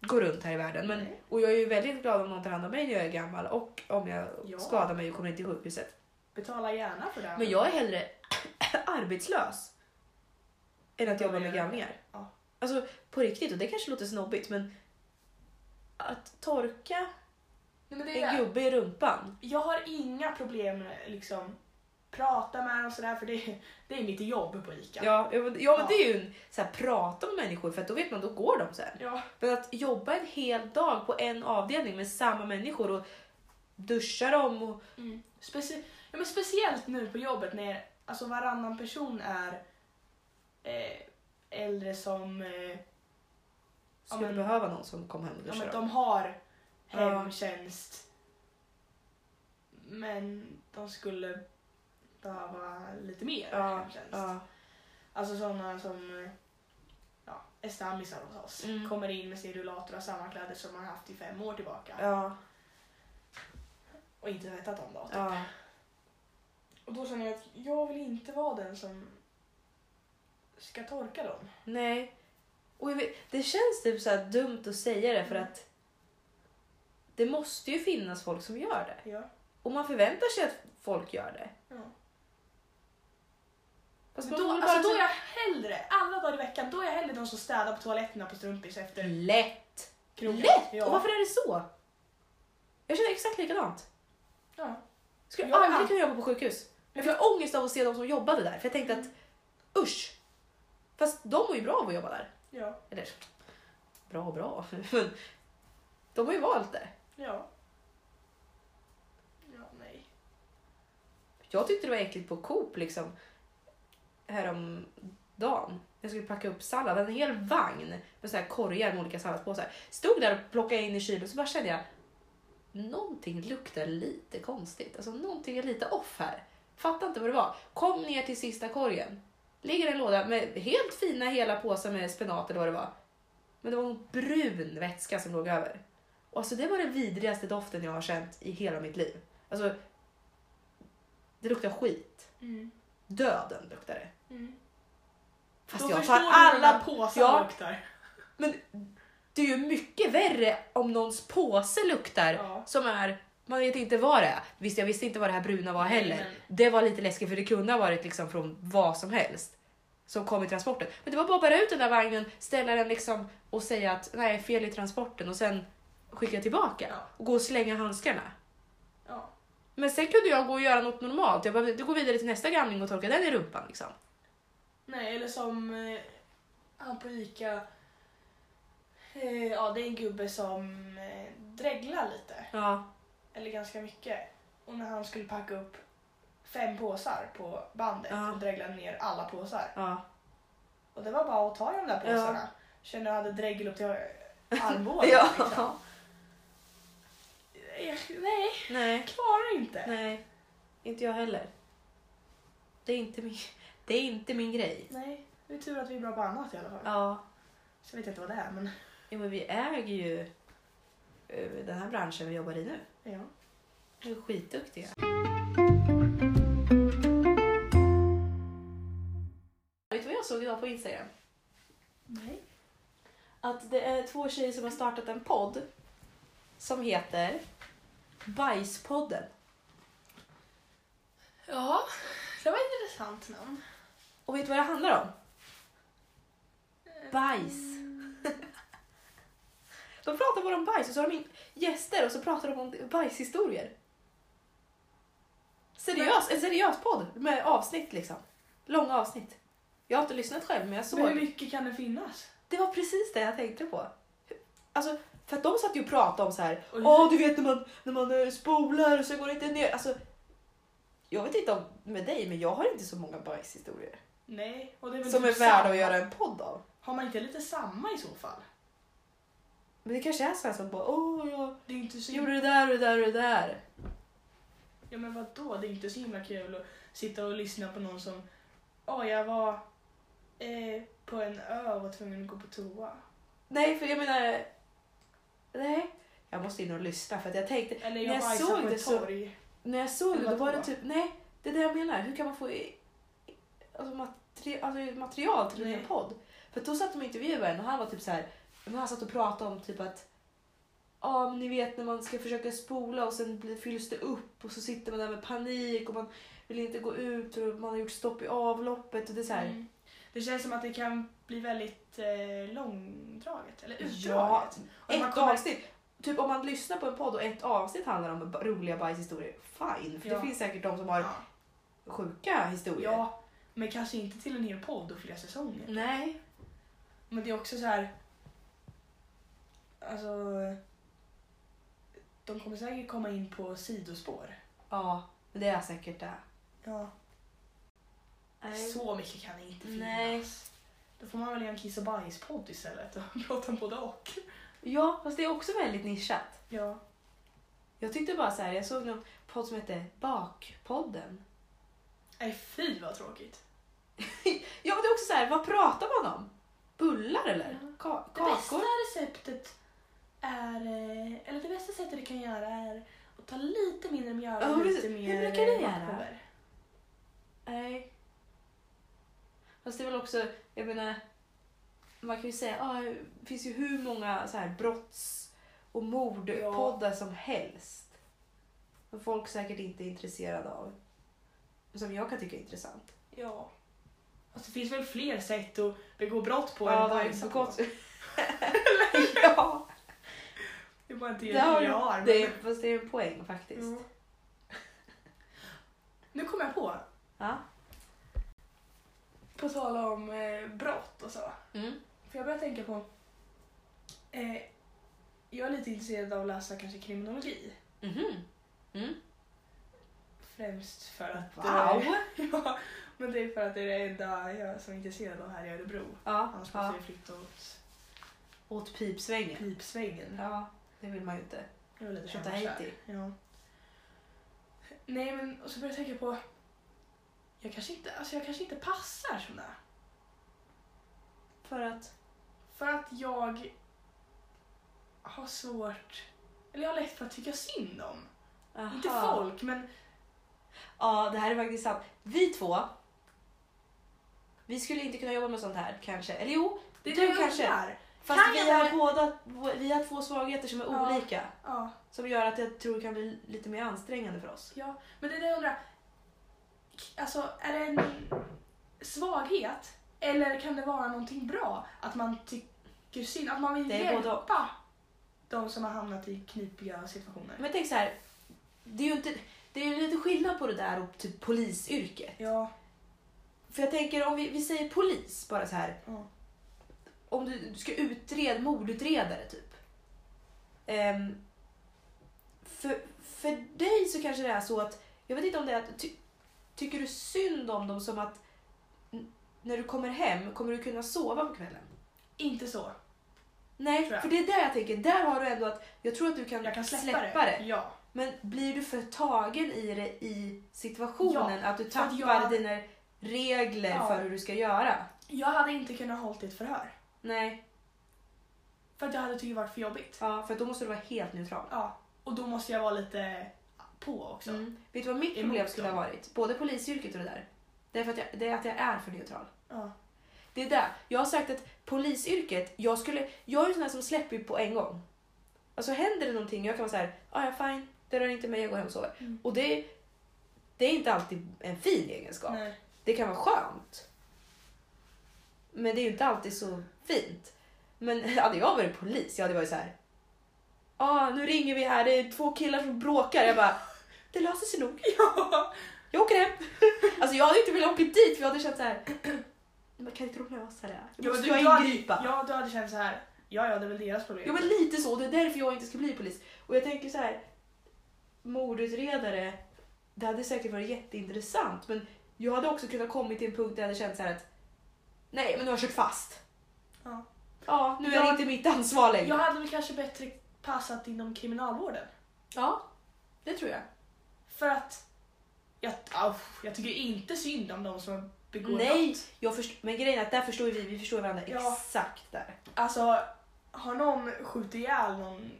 [SPEAKER 1] gå runt här i världen. Men,
[SPEAKER 2] Nej.
[SPEAKER 1] och jag är ju väldigt glad om någon tar hand om mig när jag är gammal och om jag
[SPEAKER 2] Ja.
[SPEAKER 1] skadar mig och kommer in till sjukhuset.
[SPEAKER 2] Betala gärna för det. här.
[SPEAKER 1] Men jag är hellre arbetslös än att
[SPEAKER 2] Ja,
[SPEAKER 1] jobba
[SPEAKER 2] men
[SPEAKER 1] med
[SPEAKER 2] jag-
[SPEAKER 1] gamlingar.
[SPEAKER 2] ja.
[SPEAKER 1] Alltså på riktigt, och det kanske låter snobbigt men att torka
[SPEAKER 2] Nej, men det är
[SPEAKER 1] en gubbe i rumpan.
[SPEAKER 2] Jag har inga problem med liksom prata med dem och sådär för det, det är mitt jobb på ICA.
[SPEAKER 1] Ja, ja, men, ja, men
[SPEAKER 2] Ja.
[SPEAKER 1] det är ju en, så här, prata med människor för att då vet man, då går de sen.
[SPEAKER 2] Ja.
[SPEAKER 1] Men att jobba en hel dag på en avdelning med samma människor och duscha dem och...
[SPEAKER 2] Mm. Specie- ja men speciellt nu på jobbet när alltså varannan person är eh, äldre som eh,
[SPEAKER 1] Skulle
[SPEAKER 2] men-
[SPEAKER 1] behöva någon som kom hem och
[SPEAKER 2] ja,
[SPEAKER 1] duschade
[SPEAKER 2] men
[SPEAKER 1] dem.
[SPEAKER 2] de har
[SPEAKER 1] Ja.
[SPEAKER 2] hemtjänst. Men de skulle behöva lite mer
[SPEAKER 1] Ja,
[SPEAKER 2] hemtjänst.
[SPEAKER 1] ja.
[SPEAKER 2] Alltså sådana som eh, ja, är stammisar hos oss.
[SPEAKER 1] Mm.
[SPEAKER 2] Kommer in med sin rullator och samma kläder som man har haft i fem år tillbaka.
[SPEAKER 1] Ja,
[SPEAKER 2] Och inte tvättat om datorn.
[SPEAKER 1] ja.
[SPEAKER 2] Och då känner jag att jag vill inte vara den som ska torka dem.
[SPEAKER 1] Nej. Och jag vet, det känns typ så här dumt att säga det för att det måste ju finnas folk som gör det.
[SPEAKER 2] Ja.
[SPEAKER 1] Och man förväntar sig att folk gör det.
[SPEAKER 2] Ja.
[SPEAKER 1] Fast
[SPEAKER 2] Då,
[SPEAKER 1] man vill bara
[SPEAKER 2] alltså,
[SPEAKER 1] så-
[SPEAKER 2] då är jag hellre, alla dagar i veckan, då är jag hellre de som städar på toaletterna på strumpis efter
[SPEAKER 1] typ Lätt!
[SPEAKER 2] krogen.
[SPEAKER 1] Mm. Lätt!
[SPEAKER 2] Ja.
[SPEAKER 1] Och varför är det så? Jag känner exakt likadant.
[SPEAKER 2] Ja. Mm.
[SPEAKER 1] Skulle
[SPEAKER 2] Ja,
[SPEAKER 1] aldrig
[SPEAKER 2] ja.
[SPEAKER 1] kunna jobba på sjukhus. Jag fick ångest av att se de som jobbade där. För jag tänkte att
[SPEAKER 2] Mm.
[SPEAKER 1] usch. Fast de var ju bra av att jobba där.
[SPEAKER 2] Ja.
[SPEAKER 1] Eller bra och bra. Men de har ju valt det.
[SPEAKER 2] Ja. Ja, nej.
[SPEAKER 1] Jag tyckte det var äckligt på Coop liksom. Häromdagen. Jag skulle packa upp sallad. En hel vagn med så här korgar med olika salladspåsar. Stod där och plockade in i kylen så bara kände jag. Någonting luktar lite konstigt. Alltså någonting är lite off här. Fattar inte vad det var. Kom ner till sista korgen. Ligger i en låda med helt fina hela påsar med spenat eller vad det var. Men det var en brun vätska som låg över. Och alltså det var den vidrigaste doften jag har känt i hela mitt liv. Alltså, det luktar skit.
[SPEAKER 2] Mm.
[SPEAKER 1] Döden luktar det.
[SPEAKER 2] Mm.
[SPEAKER 1] Fast
[SPEAKER 2] Då
[SPEAKER 1] jag
[SPEAKER 2] förstår
[SPEAKER 1] tar
[SPEAKER 2] du hur den
[SPEAKER 1] alla
[SPEAKER 2] här påsen
[SPEAKER 1] Ja.
[SPEAKER 2] luktar.
[SPEAKER 1] Men det är ju mycket värre om någons påse luktar
[SPEAKER 2] Ja.
[SPEAKER 1] som är man vet inte vad det är. Visst, jag visste inte vad det här bruna var heller.
[SPEAKER 2] Nej,
[SPEAKER 1] Det var lite läskigt för det kunde ha varit liksom från vad som helst som kom i transporten. Men det var bara att bära ut den där vagnen, ställa den liksom och säga att nej, fel i transporten och sen skicka tillbaka
[SPEAKER 2] Ja.
[SPEAKER 1] och gå och slänga handskarna.
[SPEAKER 2] Ja.
[SPEAKER 1] Men sen kunde jag gå och göra något normalt. Jag behövde inte gå vidare till nästa gamling och torka den i rumpan liksom.
[SPEAKER 2] Nej, eller som eh, han på Ica. Eh, ja, det är en gubbe som eh, dreglar lite.
[SPEAKER 1] Ja,
[SPEAKER 2] Eller ganska mycket. Och när han skulle packa upp fem påsar på bandet
[SPEAKER 1] Ja.
[SPEAKER 2] och dreglade ner alla påsar.
[SPEAKER 1] ja.
[SPEAKER 2] Och det var bara att ta de där påsarna.
[SPEAKER 1] Ja.
[SPEAKER 2] Kände jag hade dregel upp till eh, armbågen.
[SPEAKER 1] Ja.
[SPEAKER 2] liksom. Eh, Nej,
[SPEAKER 1] Nej.
[SPEAKER 2] jag klarar inte. Nej.
[SPEAKER 1] Nej, inte jag heller. Det är inte min, det är inte min grej.
[SPEAKER 2] det är tur att vi är bra på annat i alla fall.
[SPEAKER 1] Ja,
[SPEAKER 2] Så jag vet inte vad det är, men
[SPEAKER 1] jo, men vi äger ju eh, den här branschen vi jobbar i nu.
[SPEAKER 2] ja.
[SPEAKER 1] Vi är skitduktiga. Vet du vad jag såg idag på Instagram?
[SPEAKER 2] Nej.
[SPEAKER 1] Att det är två tjejer som har startat en podd som heter Bajspodden.
[SPEAKER 2] Ja, det var ett intressant namn.
[SPEAKER 1] Och vet du vad det handlar om?
[SPEAKER 2] Eh,
[SPEAKER 1] Bajs. De pratar bara om bajs och så har de in gäster och så pratar de om bajshistorier. Seriös, en seriös podd med avsnitt liksom. Långa avsnitt. Jag har inte lyssnat själv men jag såg.
[SPEAKER 2] Men hur mycket kan det finnas?
[SPEAKER 1] Det var precis det jag tänkte på. Alltså, för att de satt ju och pratade om så här.
[SPEAKER 2] Oj.
[SPEAKER 1] Åh, du vet när man, när man eh, spolar så går det inte ner. Alltså, jag vet inte om med dig men jag har inte så många bajshistorier.
[SPEAKER 2] Nej. Och det är väl
[SPEAKER 1] Som är
[SPEAKER 2] typ
[SPEAKER 1] värda
[SPEAKER 2] samma.
[SPEAKER 1] att göra en podd av.
[SPEAKER 2] Har man inte lite samma i så fall?
[SPEAKER 1] Men det kanske är så här som bara åh jag
[SPEAKER 2] Det är inte så
[SPEAKER 1] gjorde det där och det där och det där.
[SPEAKER 2] Ja men vadå, det är inte så himla kul att sitta och lyssna på någon som Ja, jag var eh, på en ö och var tvungen att gå på toa.
[SPEAKER 1] Nej, för jag menar... Nej. Jag måste in och lyssna för att jag tänkte...
[SPEAKER 2] Eller
[SPEAKER 1] När
[SPEAKER 2] jag
[SPEAKER 1] jag
[SPEAKER 2] bajsade
[SPEAKER 1] såg
[SPEAKER 2] på
[SPEAKER 1] det
[SPEAKER 2] ett
[SPEAKER 1] så-
[SPEAKER 2] torg.
[SPEAKER 1] När jag såg det
[SPEAKER 2] Eller
[SPEAKER 1] då var det
[SPEAKER 2] vadå?
[SPEAKER 1] typ... Nej, det är det jag menar. Hur kan man få i, alltså, materi, alltså, material till en
[SPEAKER 2] Nej.
[SPEAKER 1] podd? För då satt de och intervjuade en och han var typ så här... Men han satt och pratade om typ att... Ja, men ni vet när man ska försöka spola och sen blir- fylls det upp och så sitter man där med panik och man vill inte gå ut och man har gjort stopp i avloppet och det är så här...
[SPEAKER 2] Mm. Det känns som att det kan bli väldigt eh, långdraget. Eller
[SPEAKER 1] Ja,
[SPEAKER 2] utdraget. Och man
[SPEAKER 1] ett
[SPEAKER 2] kommer-
[SPEAKER 1] avsnitt. Typ om man lyssnar på en podd och ett avsnitt handlar om b- roliga bajshistorier, fine. För det
[SPEAKER 2] Ja.
[SPEAKER 1] finns säkert de som har
[SPEAKER 2] Ja.
[SPEAKER 1] sjuka historier.
[SPEAKER 2] ja, men kanske inte till en hel podd och flera säsonger.
[SPEAKER 1] Nej.
[SPEAKER 2] Men det är också så här... Alltså... De kommer säkert komma in på sidospår.
[SPEAKER 1] Ja, men det är säkert det.
[SPEAKER 2] Ja.
[SPEAKER 1] Nej.
[SPEAKER 2] Så mycket kan det inte finnas.
[SPEAKER 1] Nej.
[SPEAKER 2] Då får man väl göra en kiss och bajspodd istället och prata om både och.
[SPEAKER 1] Ja, fast det är också väldigt nischat.
[SPEAKER 2] Ja.
[SPEAKER 1] Jag tyckte bara så här, jag såg någon podd som hette Bakpodden.
[SPEAKER 2] Nej fy vad tråkigt.
[SPEAKER 1] Ja, men det är också så här, vad pratar man om? Bullar eller?
[SPEAKER 2] Ja.
[SPEAKER 1] Ka-
[SPEAKER 2] Det bästa
[SPEAKER 1] kakor?
[SPEAKER 2] receptet är... eh, Eller det bästa sättet du kan göra är att ta lite mindre mjöl
[SPEAKER 1] Ja,
[SPEAKER 2] och lite
[SPEAKER 1] precis. Hur
[SPEAKER 2] mer
[SPEAKER 1] brukar du
[SPEAKER 2] eh,
[SPEAKER 1] göra?
[SPEAKER 2] vattpulver.
[SPEAKER 1] Nej. Fast det är väl också, jag menar, man kan ju säga, ah, det finns ju hur många så här brotts och mordpoddar som helst. Som folk säkert inte är intresserade av. Som jag kan tycka är intressant.
[SPEAKER 2] Ja. Alltså, det finns väl fler sätt att begå brott på
[SPEAKER 1] Ja,
[SPEAKER 2] än
[SPEAKER 1] det har ju
[SPEAKER 2] bajsa på.
[SPEAKER 1] begåtts- ja,
[SPEAKER 2] Det är bara inte
[SPEAKER 1] det
[SPEAKER 2] det
[SPEAKER 1] har
[SPEAKER 2] jag har.
[SPEAKER 1] ju, det är, fast det är en poäng faktiskt.
[SPEAKER 2] Ja. Nu kom jag på,
[SPEAKER 1] Ja.
[SPEAKER 2] på tal om eh, brott och så.
[SPEAKER 1] Mm.
[SPEAKER 2] För jag började tänka på... Eh, jag är lite intresserad av att läsa kanske kriminologi.
[SPEAKER 1] Mhm. Mm.
[SPEAKER 2] Främst för att...
[SPEAKER 1] Wow!
[SPEAKER 2] Eh, ja, men det är för att det är det enda jag som är intresserad av här i Örebro.
[SPEAKER 1] Ja,
[SPEAKER 2] Annars måste
[SPEAKER 1] ja.
[SPEAKER 2] jag flytta åt
[SPEAKER 1] Åt pipsvängen.
[SPEAKER 2] Pipsvängen.
[SPEAKER 1] Ja, det vill man ju inte.
[SPEAKER 2] Jag var lite
[SPEAKER 1] Flytta
[SPEAKER 2] hemkär.
[SPEAKER 1] hit
[SPEAKER 2] Ja. Nej men, och så började jag tänka på... jag kanske inte, alltså jag kanske inte passar som det. är.
[SPEAKER 1] För att...
[SPEAKER 2] För att jag har svårt, eller jag har lätt för att tycka synd om.
[SPEAKER 1] Aha.
[SPEAKER 2] Inte folk, men
[SPEAKER 1] Ja, det här är faktiskt sant. Vi två, vi skulle inte kunna jobba med sånt här kanske. Eller jo,
[SPEAKER 2] det är
[SPEAKER 1] Du
[SPEAKER 2] det jag
[SPEAKER 1] kanske.
[SPEAKER 2] undrar.
[SPEAKER 1] fast
[SPEAKER 2] Kan
[SPEAKER 1] vi
[SPEAKER 2] jag-
[SPEAKER 1] har, båda, vi har två svagheter som är
[SPEAKER 2] Ja.
[SPEAKER 1] olika.
[SPEAKER 2] Ja,
[SPEAKER 1] Som gör att jag tror det kan bli lite mer ansträngande för oss.
[SPEAKER 2] ja, men det är det jag undrar. Alltså, är det en svaghet eller kan det vara någonting bra att man tycker synd, att man vill
[SPEAKER 1] Det är både
[SPEAKER 2] hjälpa de som har hamnat i knipiga situationer?
[SPEAKER 1] Men tänk så här, det är ju inte, det är ju lite skillnad på det där och typ polisyrket.
[SPEAKER 2] Ja,
[SPEAKER 1] För jag tänker om vi, vi säger polis, bara så här.
[SPEAKER 2] Ja.
[SPEAKER 1] Om du, du ska utreda, mordutredare typ. Ehm, för, för dig så kanske det är så att, jag vet inte om det är att, ty, tycker du synd om dem som att n- när du kommer hem, kommer du kunna sova på kvällen?
[SPEAKER 2] inte så.
[SPEAKER 1] Nej,
[SPEAKER 2] Tror jag.
[SPEAKER 1] för det är där jag tänker, där har du ändå att, jag tror att du kan,
[SPEAKER 2] Jag kan släppa,
[SPEAKER 1] släppa det.
[SPEAKER 2] Ja.
[SPEAKER 1] Men blir du för tagen i det i situationen? att du
[SPEAKER 2] för att
[SPEAKER 1] tappar
[SPEAKER 2] jag-
[SPEAKER 1] dina regler
[SPEAKER 2] Ja.
[SPEAKER 1] för hur du ska göra?
[SPEAKER 2] Jag hade inte kunnat hålla ett förhör.
[SPEAKER 1] Nej,
[SPEAKER 2] För att jag hade tyckt det varit för jobbigt.
[SPEAKER 1] ja, för då måste du vara helt neutral.
[SPEAKER 2] Ja. Och då måste jag vara lite på också.
[SPEAKER 1] Mm. Vet du vad mitt
[SPEAKER 2] Emot
[SPEAKER 1] problem skulle ha
[SPEAKER 2] dem.
[SPEAKER 1] varit? Både polisyrket och det där. Det är, för att jag, det är att jag är för neutral.
[SPEAKER 2] Ja.
[SPEAKER 1] Det är det. Jag har sagt att polisyrket, jag, skulle, jag är ju sån här som släpper på en gång. Alltså händer det någonting, jag kan vara så här, ah, ja fine, det rör inte mig, jag går hem och sover.
[SPEAKER 2] Mm.
[SPEAKER 1] Och det, det är inte alltid en fin egenskap.
[SPEAKER 2] Nej.
[SPEAKER 1] Det kan vara skönt. Men det är ju inte alltid så fint. Men hade jag varit polis, jag hade varit så här. Ja, ah, nu ringer vi här, det är två killar som bråkar. Jag bara, det löser sig nog.
[SPEAKER 2] Ja.
[SPEAKER 1] Jag åker hem. Alltså jag hade inte velat åka dit för jag hade känt så här. Man kan inte de lösa det? här?
[SPEAKER 2] Ja,
[SPEAKER 1] Måste
[SPEAKER 2] du,
[SPEAKER 1] jag
[SPEAKER 2] du hade,
[SPEAKER 1] ingripa?
[SPEAKER 2] ja, du hade känt så här. Ja, ja, det är väl deras problem.
[SPEAKER 1] Jo men lite så, det är därför jag inte ska bli polis. Och jag tänker så här, mordutredare, det hade säkert varit jätteintressant men jag hade också kunnat kommit till en punkt där jag hade känt så här att nej men nu har jag kört fast.
[SPEAKER 2] Ja.
[SPEAKER 1] Ja, nu är det
[SPEAKER 2] Jag-
[SPEAKER 1] inte mitt ansvar längre.
[SPEAKER 2] Jag hade väl kanske bättre passat inom kriminalvården.
[SPEAKER 1] Ja, det tror jag.
[SPEAKER 2] För att jag, au, jag tycker inte synd om de som begår
[SPEAKER 1] Nej,
[SPEAKER 2] brott.
[SPEAKER 1] jag först- men grejen är att där förstår ju vi, vi förstår varandra
[SPEAKER 2] Ja.
[SPEAKER 1] exakt där.
[SPEAKER 2] Alltså, har någon skjutit ihjäl någon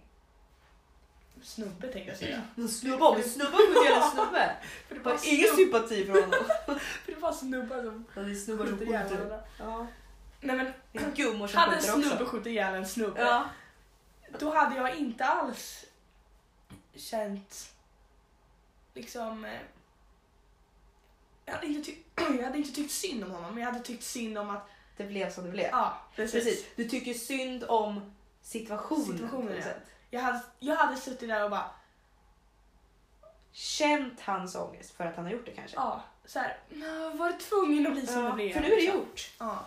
[SPEAKER 2] snubbe tänkte jag säga.
[SPEAKER 1] En snubbe om en snubbe om en snubbe.
[SPEAKER 2] För det
[SPEAKER 1] Jag
[SPEAKER 2] var
[SPEAKER 1] Mm. har ingen
[SPEAKER 2] snubb,
[SPEAKER 1] sympati för honom.
[SPEAKER 2] för det var snubbar som
[SPEAKER 1] Ja, det är snubbar som
[SPEAKER 2] skjuter ihjäl
[SPEAKER 1] skjuter.
[SPEAKER 2] varandra.
[SPEAKER 1] Ja.
[SPEAKER 2] Nej men,
[SPEAKER 1] Det är gummor som
[SPEAKER 2] hade en
[SPEAKER 1] skjuter
[SPEAKER 2] snubbe
[SPEAKER 1] också.
[SPEAKER 2] skjutit ihjäl en snubbe
[SPEAKER 1] Ja.
[SPEAKER 2] då hade jag inte alls känt liksom eh, jag hade, inte tyckt, jag hade inte tyckt synd om honom, men jag hade tyckt synd om att...
[SPEAKER 1] Det blev som det blev.
[SPEAKER 2] Ja, precis.
[SPEAKER 1] Precis. Du tycker synd om situationen.
[SPEAKER 2] Situationen,
[SPEAKER 1] på något
[SPEAKER 2] ja.
[SPEAKER 1] sätt.
[SPEAKER 2] Jag, hade, jag hade suttit där och bara...
[SPEAKER 1] Känt hans ångest för att han har gjort det kanske.
[SPEAKER 2] Ja, så här, "Nå, var du tvungen att bli som
[SPEAKER 1] Ja,
[SPEAKER 2] du blev?
[SPEAKER 1] för nu är det
[SPEAKER 2] liksom.
[SPEAKER 1] gjort.
[SPEAKER 2] Ja.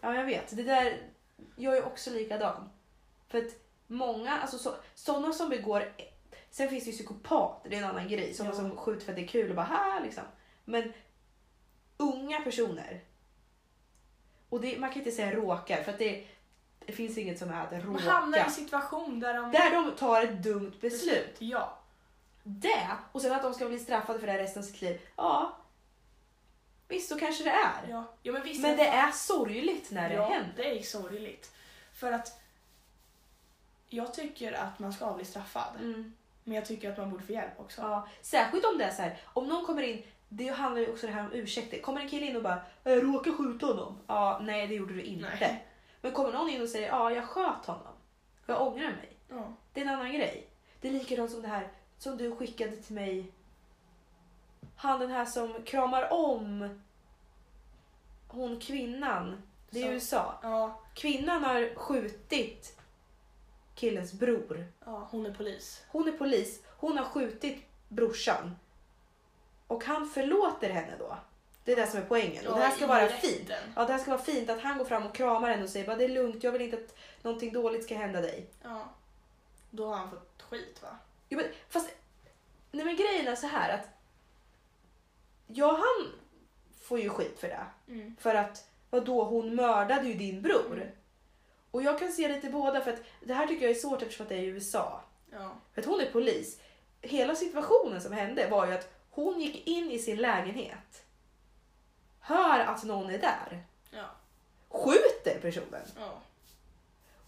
[SPEAKER 1] Ja, jag vet. Det där, jag är också likadan. För att många, alltså så, sådana som begår... Sen finns det ju psykopater, det är en annan grej. Sådana
[SPEAKER 2] Ja.
[SPEAKER 1] som skjuter för att det är kul och bara här liksom. Men unga personer. Och det, man kan inte säga råkar för att det, det finns inget som är att
[SPEAKER 2] Man hamnar i
[SPEAKER 1] råka.
[SPEAKER 2] en situation där de...
[SPEAKER 1] Där de tar ett dumt beslut.
[SPEAKER 2] Ja.
[SPEAKER 1] det och sen att de ska bli straffade för det här resten av sitt liv. Ja, visst så kanske det är.
[SPEAKER 2] ja. ja men visst,
[SPEAKER 1] Men det är sorgligt när det
[SPEAKER 2] ja,
[SPEAKER 1] händer.
[SPEAKER 2] det är sorgligt. För att jag tycker att man ska bli straffad.
[SPEAKER 1] Mm,
[SPEAKER 2] Men jag tycker att man borde få hjälp också.
[SPEAKER 1] ja. Särskilt om det är så här, om någon kommer in, det handlar ju också det här om ursäkter. Kommer en kille in och bara jag råkar skjuta honom. Ja, nej det gjorde du inte.
[SPEAKER 2] Nej.
[SPEAKER 1] Men kommer någon in och säger ja jag sköt honom. Jag ångrar mig.
[SPEAKER 2] Ja.
[SPEAKER 1] Det är en annan grej. Det är likadant som det här som du skickade till mig. Han den här som kramar om hon kvinnan. Det är
[SPEAKER 2] Så.
[SPEAKER 1] i USA.
[SPEAKER 2] Ja.
[SPEAKER 1] Kvinnan har skjutit killens bror.
[SPEAKER 2] ja, hon är polis.
[SPEAKER 1] Hon är polis. Hon har skjutit brorsan. Och han förlåter henne då. Det är det som är poängen. Och det här ska
[SPEAKER 2] i
[SPEAKER 1] vara
[SPEAKER 2] rätten.
[SPEAKER 1] fint. Ja, det här ska vara fint att han går fram och kramar henne och säger bara det är lugnt, jag vill inte att någonting dåligt ska hända dig.
[SPEAKER 2] Ja. Då har han fått skit va?
[SPEAKER 1] Jo, men, fast, nej men grejen är så här att ja, han får ju skit för det.
[SPEAKER 2] Mm.
[SPEAKER 1] För att vadå, hon mördade ju din bror.
[SPEAKER 2] Mm.
[SPEAKER 1] Och jag kan se lite båda för att det här tycker jag är svårt eftersom att det är i USA.
[SPEAKER 2] Ja.
[SPEAKER 1] För att hon är polis. Hela situationen som hände var ju att Hon gick in i sin lägenhet. Hör att någon är där.
[SPEAKER 2] Ja.
[SPEAKER 1] Skjuter personen.
[SPEAKER 2] ja.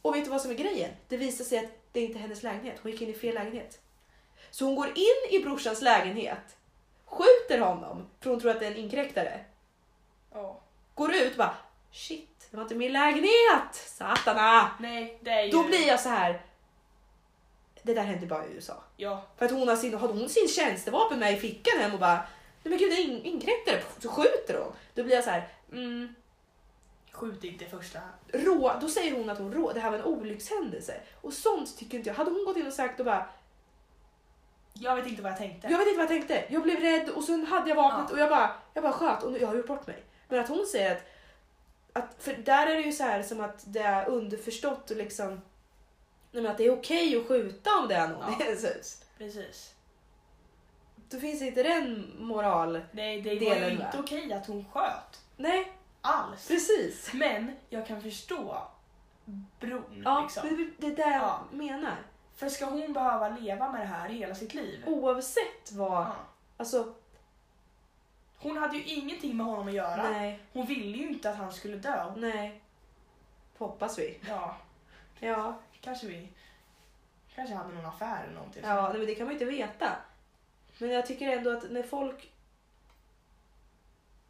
[SPEAKER 1] Och vet du vad som är grejen? Det visar sig att det är inte är hennes lägenhet. Hon gick in i fel lägenhet. Så hon går in i brorsans lägenhet. Skjuter honom. För hon tror att det är en inkräktare.
[SPEAKER 2] ja.
[SPEAKER 1] Går ut och bara shit, det var inte min lägenhet. Satana.
[SPEAKER 2] Nej, det är ju...
[SPEAKER 1] Då blir jag så här. Det där händer bara i USA.
[SPEAKER 2] Ja.
[SPEAKER 1] För att hon har sin, hade hon sin tjänstevapen med i fickan hem och bara Nej men gud det är in- inkräktare, Pff, så skjuter hon. Då blir jag så här, mm,
[SPEAKER 2] Skjut inte i första hand.
[SPEAKER 1] rå, då säger hon att hon rå, det här var en olyckshändelse. Och sånt tycker inte jag. Hade hon gått in och sagt och bara,
[SPEAKER 2] Jag vet inte vad jag tänkte.
[SPEAKER 1] jag vet inte vad jag tänkte, jag blev rädd och sen hade jag vapnet och jag bara, jag bara sköt och nu, jag har gjort bort mig. Men att hon säger att, att för där är det ju så här som att det är underförstått och liksom, nej men att det är okej att skjuta om det är någon i
[SPEAKER 2] Ja.
[SPEAKER 1] ens hus.
[SPEAKER 2] Precis.
[SPEAKER 1] Då finns inte den moral,
[SPEAKER 2] Nej, det var
[SPEAKER 1] Delen
[SPEAKER 2] ju
[SPEAKER 1] där.
[SPEAKER 2] inte okej att hon sköt.
[SPEAKER 1] nej
[SPEAKER 2] Alls.
[SPEAKER 1] precis.
[SPEAKER 2] Men jag kan förstå bron.
[SPEAKER 1] Ja,
[SPEAKER 2] liksom.
[SPEAKER 1] det det är det jag
[SPEAKER 2] Ja.
[SPEAKER 1] menar.
[SPEAKER 2] För ska hon behöva leva med det här hela sitt liv?
[SPEAKER 1] Oavsett vad...
[SPEAKER 2] Ja.
[SPEAKER 1] Alltså,
[SPEAKER 2] Hon hade ju ingenting med honom att göra.
[SPEAKER 1] nej,
[SPEAKER 2] Hon ville ju inte att han skulle dö.
[SPEAKER 1] nej. Hoppas vi.
[SPEAKER 2] Ja,
[SPEAKER 1] Ja,
[SPEAKER 2] kanske vi... Kanske hade någon affär eller någonting.
[SPEAKER 1] ja nej, men det kan man ju inte veta. Men jag tycker ändå att när folk...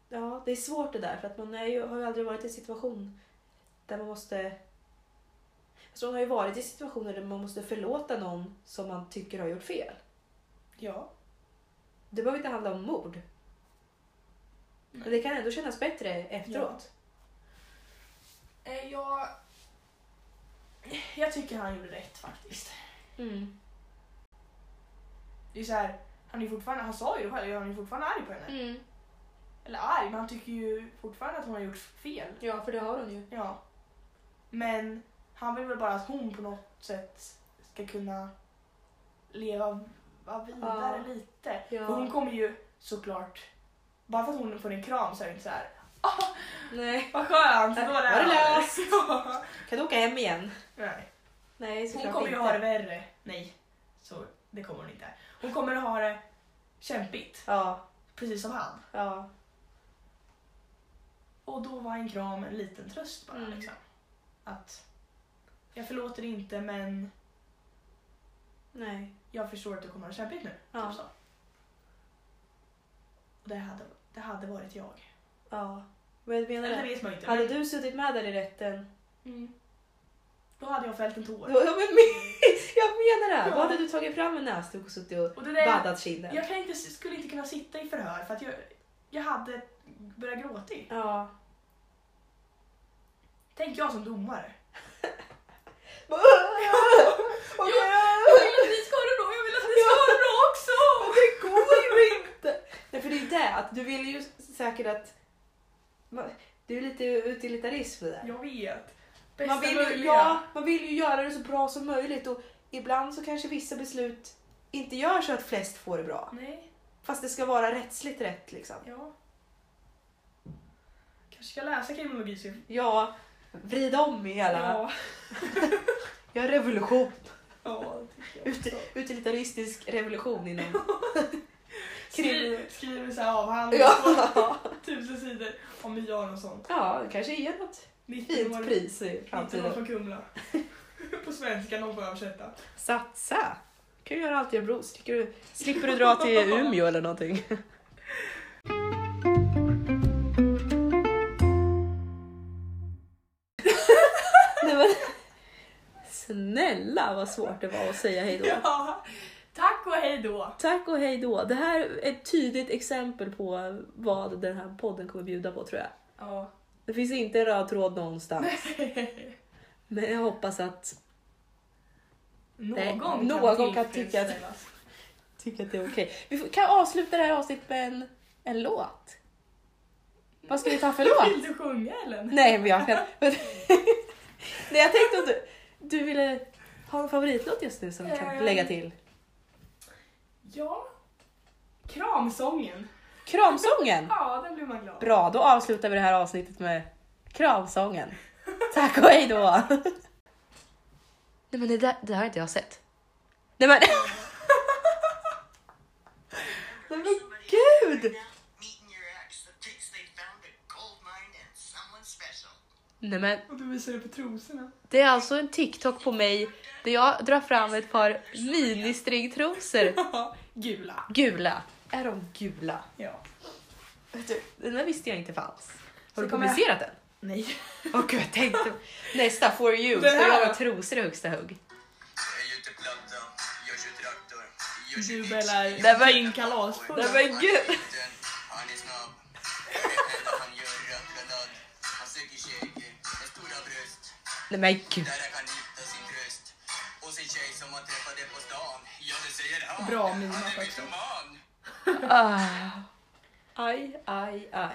[SPEAKER 1] Ja, det är svårt det där för att man är ju, har ju aldrig varit i en situation där man måste... Alltså man har ju varit i situationer där man måste förlåta någon som man tycker har gjort fel.
[SPEAKER 2] ja.
[SPEAKER 1] Det behöver inte handla om mord. Men det kan ändå kännas bättre efteråt.
[SPEAKER 2] Eh, Jag... Jag tycker han gjorde rätt faktiskt.
[SPEAKER 1] Mm.
[SPEAKER 2] Det är så här, han är ju fortfarande, han sa ju det själv, han är ju fortfarande arg på henne.
[SPEAKER 1] Mm.
[SPEAKER 2] Eller arg, men han tycker ju fortfarande att hon har gjort fel.
[SPEAKER 1] Ja, för det har hon ju.
[SPEAKER 2] Ja. Men han vill väl bara att hon på något sätt ska kunna leva va- vidare
[SPEAKER 1] Ja.
[SPEAKER 2] lite.
[SPEAKER 1] Ja.
[SPEAKER 2] För hon kommer ju såklart, bara för att hon får en kram så är det inte så här.
[SPEAKER 1] Nej.
[SPEAKER 2] vad skönt,
[SPEAKER 1] Äh,
[SPEAKER 2] då var det
[SPEAKER 1] var det
[SPEAKER 2] över."
[SPEAKER 1] löst?
[SPEAKER 2] Ja.
[SPEAKER 1] Kan du åka hem igen?
[SPEAKER 2] Nej.
[SPEAKER 1] Nej, såklart
[SPEAKER 2] Hon kommer ju
[SPEAKER 1] inte.
[SPEAKER 2] ha det värre. Nej, så det kommer hon inte. Hon kommer att ha det kämpigt,
[SPEAKER 1] Ja,
[SPEAKER 2] precis som han.
[SPEAKER 1] ja.
[SPEAKER 2] Och då var en kram en liten tröst bara.
[SPEAKER 1] Mm.
[SPEAKER 2] Liksom. Att jag förlåter inte men
[SPEAKER 1] Nej.
[SPEAKER 2] jag förstår att du kommer att ha kämpigt nu.
[SPEAKER 1] Ja.
[SPEAKER 2] Typ så. Och det hade, det hade varit jag.
[SPEAKER 1] Ja. Men jag menar
[SPEAKER 2] Eller det
[SPEAKER 1] det.
[SPEAKER 2] vet man ju inte.
[SPEAKER 1] Hade
[SPEAKER 2] Men,
[SPEAKER 1] du suttit med där i rätten?
[SPEAKER 2] mm, då hade jag fällt en
[SPEAKER 1] Ja,
[SPEAKER 2] tår.
[SPEAKER 1] men me- Jag menar det! Då
[SPEAKER 2] Ja.
[SPEAKER 1] hade du tagit fram en näsduk och suttit och
[SPEAKER 2] Och det där,
[SPEAKER 1] baddat kinden.
[SPEAKER 2] jag kan inte, skulle inte kunna sitta i förhör för att jag, jag hade börjat gråta.
[SPEAKER 1] Ja.
[SPEAKER 2] Tänk jag som domare.
[SPEAKER 1] Och-
[SPEAKER 2] att ni ska ha det bra, jag vill att ni ska ha det bra också!
[SPEAKER 1] Och det går ju inte! Nej, för det är det att du vill ju säkert att... Man- Det är ju lite utilitarism det där.
[SPEAKER 2] Jag vet.
[SPEAKER 1] Man vill, ju, ja, man vill ju göra det så bra som möjligt och ibland så kanske vissa beslut inte gör så att flest får det bra.
[SPEAKER 2] Nej,
[SPEAKER 1] Fast det ska vara rättsligt rätt liksom.
[SPEAKER 2] ja. Kanske ska läsa kriminologi så
[SPEAKER 1] Ja, vrid om i hela.
[SPEAKER 2] Ja.
[SPEAKER 1] Gör revolution.
[SPEAKER 2] ja det tycker jag också.
[SPEAKER 1] Utilitaristisk revolution inom...
[SPEAKER 2] Skri- Skriver så här avhandling
[SPEAKER 1] Ja,
[SPEAKER 2] på tusen sidor om miljön och sånt.
[SPEAKER 1] ja det kanske ger något
[SPEAKER 2] 19
[SPEAKER 1] fint
[SPEAKER 2] år,
[SPEAKER 1] pris i
[SPEAKER 2] 19 år
[SPEAKER 1] framtiden.
[SPEAKER 2] från Kumla. På svenska, någon får översätta.
[SPEAKER 1] Satsa! kan ju göra allt i Örebro. Slipper du, slipper du dra till Umeå eller någonting. Nej, men, snälla vad svårt det var att säga hej då.
[SPEAKER 2] Ja. Tack och hej då.
[SPEAKER 1] Tack och hej då. Det här är ett tydligt exempel på vad den här podden kommer bjuda på tror jag.
[SPEAKER 2] Ja.
[SPEAKER 1] Det finns inte en röd tråd någonstans. Men jag hoppas att Nej,
[SPEAKER 2] Någon, kan,
[SPEAKER 1] någon kan tycka att-
[SPEAKER 2] tillfredsställas.
[SPEAKER 1] tycker att det är okej. Vi får- kan avsluta det här avsnittet med en, en låt. Vad ska vi ta för låt?
[SPEAKER 2] Vill du sjunga Ellen?
[SPEAKER 1] Nej, men jag kan... Men, Nej, jag tänkte om du, du ville ha en favoritlåt just nu som vi kan lägga till.
[SPEAKER 2] Ja. Kramsången.
[SPEAKER 1] Kramsången!
[SPEAKER 2] Ja, den blir man glad.
[SPEAKER 1] Bra, då avslutar vi det här avsnittet med kravsången. Tack och hej då! Nej men det där det har inte jag sett. Nej men... Nej men gud!
[SPEAKER 3] Meeting your ex that thinks they found a gold mine and someone special.
[SPEAKER 1] Nej men,
[SPEAKER 2] Och du visar det på trosorna.
[SPEAKER 1] det är alltså en TikTok på mig där jag drar fram ett par ministringtrosor.
[SPEAKER 2] Gula.
[SPEAKER 1] Gula. Är de gula?
[SPEAKER 2] Ja.
[SPEAKER 1] Vet du, Den där visste jag inte fanns. Har du
[SPEAKER 2] Så kommer jag-
[SPEAKER 1] publicerat den?
[SPEAKER 2] Nej.
[SPEAKER 1] Åh gud, jag tänkte... Nästa, for you. Ska
[SPEAKER 2] Den här
[SPEAKER 1] jag
[SPEAKER 2] då?
[SPEAKER 1] ha trosor i högsta hugg?
[SPEAKER 3] Jag gjuter platta, jag kör traktor, jag kör
[SPEAKER 2] Du
[SPEAKER 3] bil.
[SPEAKER 2] Bella,
[SPEAKER 1] Det var
[SPEAKER 2] din kalasfull.
[SPEAKER 1] Nej men gud!
[SPEAKER 3] Den, Han är snabb. Det enda han gör är rökgranat. Han söker tjejer med stora bröst.
[SPEAKER 1] Nej men gud.
[SPEAKER 3] Där han kan hitta sin tröst. Och sin tjej som han träffade på stan. Ja, det säger han.
[SPEAKER 2] Bra mina
[SPEAKER 3] Han är
[SPEAKER 2] faktiskt.
[SPEAKER 3] mytoman.
[SPEAKER 1] Ah. Aj, aj, aj.